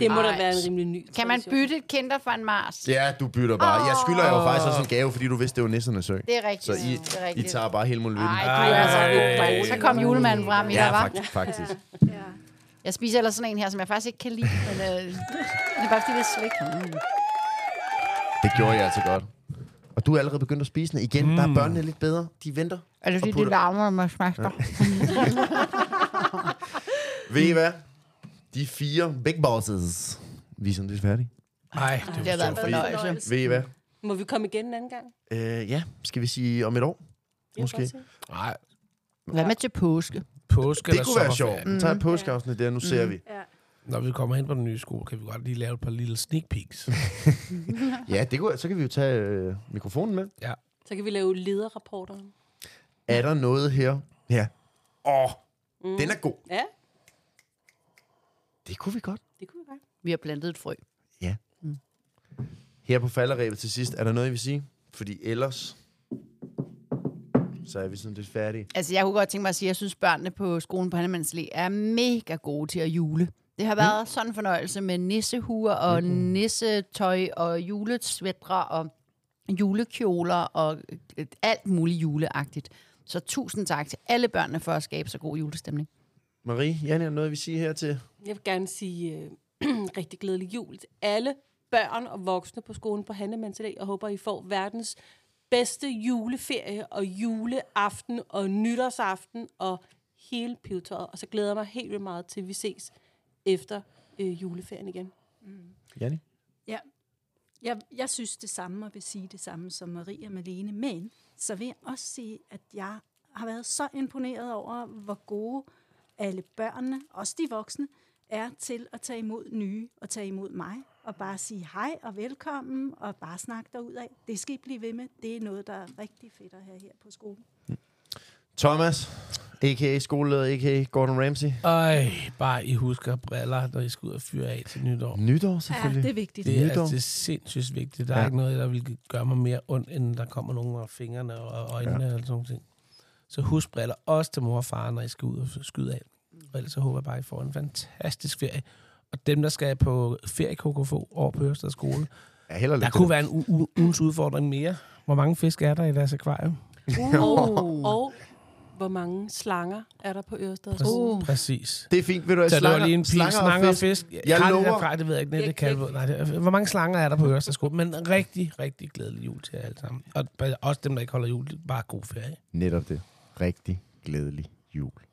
E: Det må da
A: Ej.
E: være en rimelig ny
A: Kan man
E: tradition.
A: bytte et kinder for en Mars?
B: Ja, du bytter bare. Jeg skylder jo faktisk også en gave, fordi du vidste, det var nissernes sø.
A: Det er rigtigt.
B: Så I,
A: det er
B: I
A: rigtigt.
B: tager bare hele muligheden.
A: Ej, du er så god, mand. Så kom julemanden frem i
B: Ja,
A: dig, var.
B: faktisk. faktisk.
D: Ja.
A: Jeg spiser ellers sådan en her, som jeg faktisk ikke kan lide, men øh, det er bare fordi, det er slik. Mm.
B: Det gjorde jeg altså godt. Og du er allerede begyndt at spise den. Igen, mm. der er børnene lidt bedre. De venter.
A: Er det
B: Og
A: fordi, det
B: putter-
A: larmer, når man smager?
B: Ved I hvad? De fire big bosses. Vi er sådan lidt færdige.
C: Nej, det
A: Det
C: er
A: har været en
B: fordi-
A: fornøjelse.
B: Ved I hvad?
E: Må vi komme igen en anden gang?
B: Øh, ja, skal vi sige om et år?
E: Jeg
B: Måske.
E: vil godt se.
C: Nej,
A: Hvad med til påske?
C: påske
B: Det
C: eller
B: kunne være sjovt.
C: sommerferie.
B: Vi
D: Mm.
B: tager et påskeafsnit der, nu ser vi.
D: Ja.
C: Når vi kommer hen på den nye skole, kan vi godt lige lave et par lille sneak peeks.
D: Mm.
B: Ja, det kunne, så kan vi jo tage øh, mikrofonen med.
E: Så kan vi lave lederrapporter.
B: Er der noget her? Ja. Åh, oh, mm. den er god.
E: Ja,
B: Det kunne vi godt.
E: det kunne vi godt.
A: Vi har plantet et frø.
B: Her på falderæbet til sidst, er der noget, I vil sige? Fordi ellers, så er vi sådan lidt færdige.
A: Altså, jeg kunne godt tænke mig at sige, at jeg synes, børnene på skolen på Hannemanns Læ er mega gode til at jule. Det har været mm. sådan en fornøjelse med nissehuer og mm. nissetøj og julesvætre og julekjoler og øh, alt muligt juleagtigt. Så tusind tak til alle børnene for at skabe så god julestemning.
B: Marie, Janne, er der noget, I vil sige her til?
E: Jeg vil gerne sige øh, [clears throat] rigtig glædelig jul til alle børn og voksne på skolen på Handemanns Allé. Jeg håber, I får verdens bedste juleferie og juleaften og nytårsaften og hele pivetøjet. Og så glæder jeg mig helt vildt meget til, vi ses efter øh, juleferien igen.
B: Janne?
D: Ja. Jeg, jeg synes det samme, og vil sige det samme som Maria Malene, men så vil jeg også sige, at jeg har været så imponeret over, hvor gode alle børnene, også de voksne, er til at tage imod nye og tage imod mig, og bare sige hej og velkommen, og bare snakke derudad. Det skal I blive ved med. Det er noget, der er rigtig fedt at have her på skolen.
B: Thomas, a.k.a. skoleleder, a.k.a. Gordon Ramsay.
C: Ej, bare I husker briller, når I skal ud og fyre af til nytår.
B: Nytår,
D: Ja,
B: selvfølgelig.
D: det er vigtigt.
C: Det er,
B: Nytår.
C: altså, det er sindssygt vigtigt. Der er
B: Ja.
C: ja. ikke noget, der vil gøre mig mere ondt, end der kommer nogen af fingrene og øjnene ja. og sådan noget. Så husk briller også til mor og far, når I skal ud og skyde af. Og ellers så håber jeg bare, I får en fantastisk ferie. Og dem, der skal på feriekokofo over på Ørstad Skole,
B: Ja, held og lykke
C: der
B: til
C: kunne
B: dig.
C: være en u- u- ugens udfordring mere. Hvor mange fisk er der i deres akvarium?
E: Og, og hvor mange slanger er der på Ørestad?
C: Præcis.
E: Uh.
C: Uh. Præcis.
B: Det er fint, ved du hvad?
C: Så der var lige en pil, slanger, slanger og fisk.
B: Jeg
C: har
B: lover.
C: Det, derfra, det ved jeg ikke, det,
E: Jeg
C: det kan jeg, nej, det, Hvor mange slanger er der på Ørestadssko? Men rigtig, rigtig glædelig jul til jer alle sammen. Og bare- også dem, der ikke holder jul, bare god ferie.
B: Netop det. Rigtig glædelig jul.